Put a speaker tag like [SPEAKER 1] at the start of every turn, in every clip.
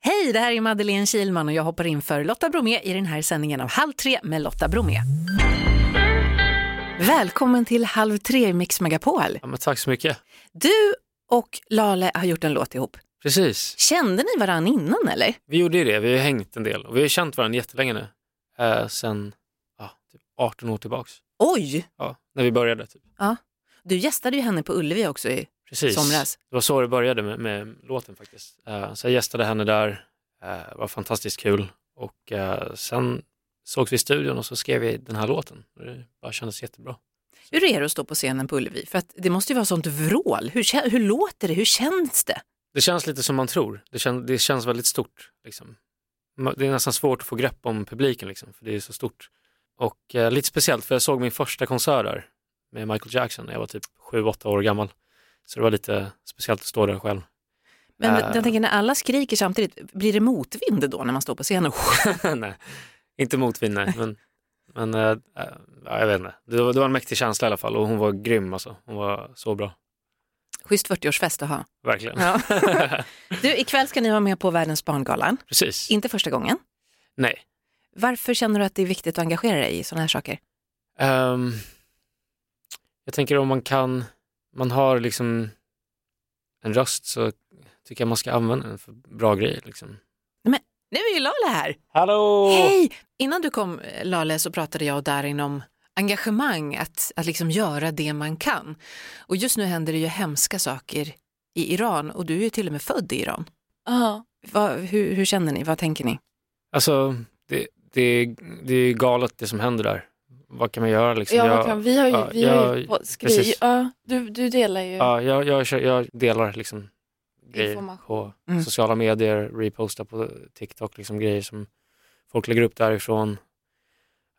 [SPEAKER 1] Hej, det här är Madeleine Kilman och jag hoppar in för Lotta Bromé i den här sändningen av Halv tre med Lotta Bromé. Välkommen till Halv tre i Mix Megapol.
[SPEAKER 2] Ja, men tack så mycket.
[SPEAKER 1] Du och Lale har gjort en låt ihop.
[SPEAKER 2] Precis.
[SPEAKER 1] Kände ni varandra innan eller?
[SPEAKER 2] Vi gjorde ju det. Vi har hängt en del och vi har känt varandra jättelänge nu. Eh, sen ja, typ 18 år tillbaks.
[SPEAKER 1] Oj!
[SPEAKER 2] Ja, när vi började. Typ.
[SPEAKER 1] Du gästade ju henne på Ullevi också i
[SPEAKER 2] Precis.
[SPEAKER 1] somras.
[SPEAKER 2] Det var så det började med, med låten faktiskt. Eh, så jag gästade henne där. Eh, Det var fantastiskt kul. Och eh, sen sågs vi i studion och så skrev vi den här låten. Och Det bara kändes jättebra.
[SPEAKER 1] Hur är det att stå på scenen på Ullevi? För att det måste ju vara sånt vrål. Hur, kä- hur låter det? Hur känns det?
[SPEAKER 2] Det känns lite som man tror. Det, kän, det känns väldigt stort. Liksom. Ma- Det är nästan svårt att få grepp om publiken, liksom, för det är så stort. Och eh, lite speciellt, för jag såg min första konsert där med Michael Jackson när jag var typ 7-8 år gammal. Så det var lite speciellt att stå där själv.
[SPEAKER 1] Men
[SPEAKER 2] Eh.
[SPEAKER 1] jag tänker när alla skriker samtidigt, blir det motvind då när man står på scenen?
[SPEAKER 2] nej, inte motvind, nej. Men, men eh, eh, ja, jag vet inte. Det var, det var en mäktig känsla i alla fall och hon var grym alltså. Hon var så bra.
[SPEAKER 1] Schysst 40-årsfest att ha.
[SPEAKER 2] Verkligen.
[SPEAKER 1] Ja. Du, ikväll ska ni vara med på Världens barngalan.
[SPEAKER 2] Precis.
[SPEAKER 1] Inte första gången.
[SPEAKER 2] Nej.
[SPEAKER 1] Varför känner du att det är viktigt att engagera dig i sådana här saker?
[SPEAKER 2] Ehm, jag tänker om man kan, man har liksom en röst så tycker jag man ska använda den för bra grejer. Liksom.
[SPEAKER 1] Nu är ju Lale här!
[SPEAKER 2] Hallå!
[SPEAKER 1] Hej! Innan du kom eh, Lale så pratade jag och Darin om engagemang, att, att liksom göra det man kan. Och just nu händer det ju hemska saker i Iran och du är ju till och med född i Iran.
[SPEAKER 3] Ja.
[SPEAKER 1] Vad, hur, hur känner ni? Vad tänker ni?
[SPEAKER 2] Alltså, det, det, är- det är galet det som händer där. Vad kan man göra liksom?
[SPEAKER 3] Ja,
[SPEAKER 2] jag,
[SPEAKER 3] vad kan, vi har ju,
[SPEAKER 2] ja,
[SPEAKER 3] vi har ju
[SPEAKER 2] jag-
[SPEAKER 3] på- skri,
[SPEAKER 2] precis.
[SPEAKER 3] ja, du, du delar ju.
[SPEAKER 2] ja, jag, jag, kör- jag delar liksom grejer
[SPEAKER 3] Information.
[SPEAKER 2] på
[SPEAKER 1] Mm.
[SPEAKER 2] sociala medier, repostar på TikTok, liksom grejer som folk lägger upp därifrån.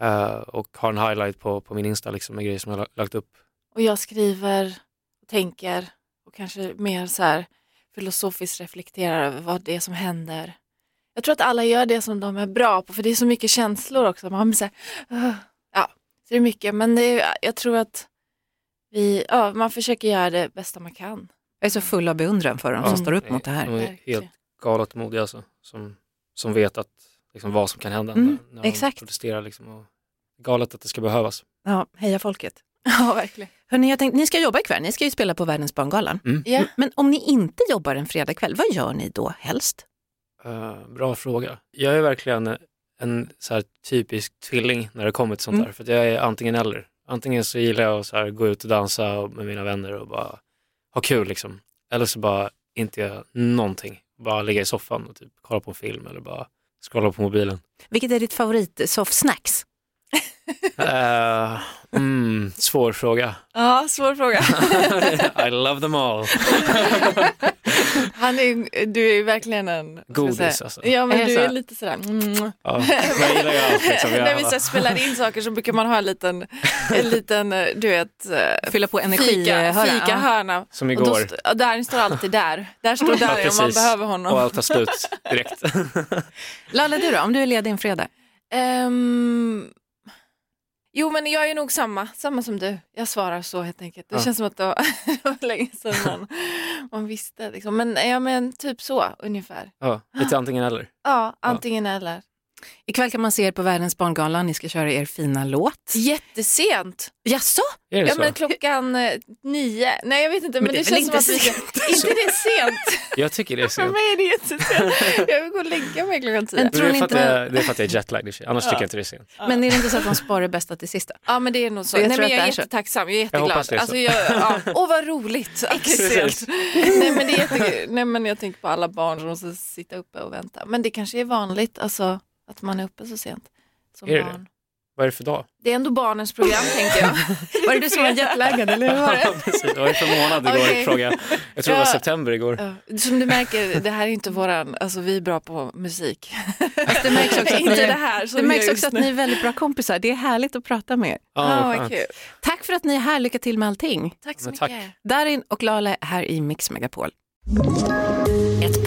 [SPEAKER 2] Eh, och har en highlight på, på min Insta liksom, med grejer som jag har lagt upp.
[SPEAKER 3] Och jag skriver och tänker och kanske mer så här filosofiskt reflekterar över vad det är som händer. Jag tror att alla gör det som de är bra på för det är så mycket känslor också. Man blir så här, "Ugh." ja, så det är mycket men det är, jag tror att vi, ja, man försöker göra det bästa man kan.
[SPEAKER 1] Jag är så full av beundran för dem som
[SPEAKER 3] Ja.
[SPEAKER 1] står upp mot det här.
[SPEAKER 2] De är helt
[SPEAKER 3] Verkligen.
[SPEAKER 2] galet modiga alltså, som, som vet att, liksom, vad som kan hända
[SPEAKER 1] Mm,
[SPEAKER 2] när, när
[SPEAKER 1] exakt.
[SPEAKER 2] de protesterar. Liksom, och galet att det ska behövas.
[SPEAKER 1] Ja, heja folket.
[SPEAKER 3] Ja, verkligen.
[SPEAKER 1] Hörrni, jag tänkte, ni ska jobba ikväll, ni ska ju spela på Världens barngalan.
[SPEAKER 3] Ja.
[SPEAKER 1] Men om ni inte jobbar en fredagkväll, vad gör ni då helst?
[SPEAKER 2] Eh, bra fråga. Jag är verkligen en så här, typisk tvilling när det kommer till sånt
[SPEAKER 1] Mm.
[SPEAKER 2] där. För att jag är antingen eller. Antingen så gillar jag att så här, gå ut och dansa och- med mina vänner och bara ha kul liksom. Eller så bara inte göra någonting. Bara ligga i soffan och typ kolla på en film eller bara scrolla på mobilen.
[SPEAKER 1] Vilket är ditt favorit soft snacks?
[SPEAKER 2] Eh, mm, svår fråga.
[SPEAKER 3] ja, svår fråga.
[SPEAKER 2] I love them all.
[SPEAKER 3] Han är, du är verkligen en... vad ska jag
[SPEAKER 2] Godis,
[SPEAKER 3] säga?
[SPEAKER 2] alltså.
[SPEAKER 3] Ja men
[SPEAKER 1] Är det
[SPEAKER 3] du
[SPEAKER 1] så?
[SPEAKER 3] är lite sådär... Mm.
[SPEAKER 2] Ja, men jag gillar ju allt. Liksom. Jag,
[SPEAKER 3] När vi så spelar in saker så brukar man ha en liten, en liten eh, du vet, eh,
[SPEAKER 1] Fylla på energi.
[SPEAKER 3] fika,
[SPEAKER 1] höra.
[SPEAKER 3] fika
[SPEAKER 1] Ja.
[SPEAKER 3] hörna.
[SPEAKER 2] som
[SPEAKER 3] Och då
[SPEAKER 2] igår.
[SPEAKER 3] st- och Darin står alltid där. Där står Darin om man
[SPEAKER 2] precis.
[SPEAKER 3] behöver honom.
[SPEAKER 2] Och allt tar slut direkt.
[SPEAKER 1] Lalle, du då, om du är ledig en fredag?
[SPEAKER 3] Ehm, jo men jag är nog samma, samma som du. Jag svarar så helt enkelt. Det
[SPEAKER 2] Ja.
[SPEAKER 3] känns som att det var, det var länge sedan man, man visste. Liksom. Men, ja, men typ så ungefär.
[SPEAKER 2] ja, lite antingen eller.
[SPEAKER 3] Ja, antingen eller.
[SPEAKER 1] Ikväll kan man se er på Världens barngala, ni ska köra er fina låt.
[SPEAKER 3] Jättesent.
[SPEAKER 1] Jaså?
[SPEAKER 2] Är det
[SPEAKER 3] Ja
[SPEAKER 2] så?
[SPEAKER 3] men klockan eh, nio. Nej jag vet inte men,
[SPEAKER 1] det är
[SPEAKER 3] det,
[SPEAKER 1] väl
[SPEAKER 3] känns
[SPEAKER 1] inte
[SPEAKER 3] som att vi... Inte det är sent.
[SPEAKER 2] Jag tycker det är
[SPEAKER 3] För
[SPEAKER 2] sent.
[SPEAKER 3] mig är det jättesent. Jag vill gå och lägga mig klockan tio.
[SPEAKER 1] Men
[SPEAKER 2] Men
[SPEAKER 1] tror
[SPEAKER 2] det,
[SPEAKER 1] ni
[SPEAKER 2] är för att
[SPEAKER 1] inte-
[SPEAKER 2] jag, det är för att jag är jetlagged i och för sig. annars tycker jag inte det är sent.
[SPEAKER 1] Men är det inte så att man sparar det bästa till sista?
[SPEAKER 3] Ja men det är nog så.
[SPEAKER 1] Jag
[SPEAKER 3] Jag,
[SPEAKER 1] tror
[SPEAKER 3] Nej, men
[SPEAKER 1] att
[SPEAKER 3] jag
[SPEAKER 1] det
[SPEAKER 3] är
[SPEAKER 1] är så.
[SPEAKER 3] jättetacksam. Jag är
[SPEAKER 2] Jag
[SPEAKER 3] jätteglad.
[SPEAKER 2] hoppas det är så.
[SPEAKER 3] alltså, jag, ja. Åh vad roligt att det är
[SPEAKER 2] Precis.
[SPEAKER 3] sent. Nej men, det är jätte... Nej men jag tänker på alla barn som måste sitta uppe och vänta. Men det kanske är vanligt alltså, att man är uppe så sent. Som
[SPEAKER 2] Är det
[SPEAKER 3] barn.
[SPEAKER 2] Vad är det för dag?
[SPEAKER 3] Det är ändå barnens program tänker jag.
[SPEAKER 1] Var det du som var jetlaggad eller hur var det?
[SPEAKER 2] Precis, Vad är det för månad igår?
[SPEAKER 3] Okej.
[SPEAKER 2] Fråga. Jag tror det var
[SPEAKER 3] Ja.
[SPEAKER 2] september igår.
[SPEAKER 3] Ja. Som du märker, det här är inte våran, alltså vi är bra på musik.
[SPEAKER 1] Det märks också att ni,
[SPEAKER 3] inte
[SPEAKER 1] är,
[SPEAKER 3] det här som
[SPEAKER 1] det
[SPEAKER 3] vi
[SPEAKER 1] märks
[SPEAKER 3] gör
[SPEAKER 1] också att
[SPEAKER 3] just
[SPEAKER 1] ni är väldigt bra kompisar, det är härligt att prata med er.
[SPEAKER 3] Ja,
[SPEAKER 2] vad
[SPEAKER 3] vad
[SPEAKER 2] skönt.
[SPEAKER 3] kul.
[SPEAKER 1] Tack för att ni är här, lycka till med allting.
[SPEAKER 3] Tack så
[SPEAKER 2] Men
[SPEAKER 3] mycket.
[SPEAKER 2] tack.
[SPEAKER 1] Darin och Lale här i Mix Megapol.
[SPEAKER 4] Ett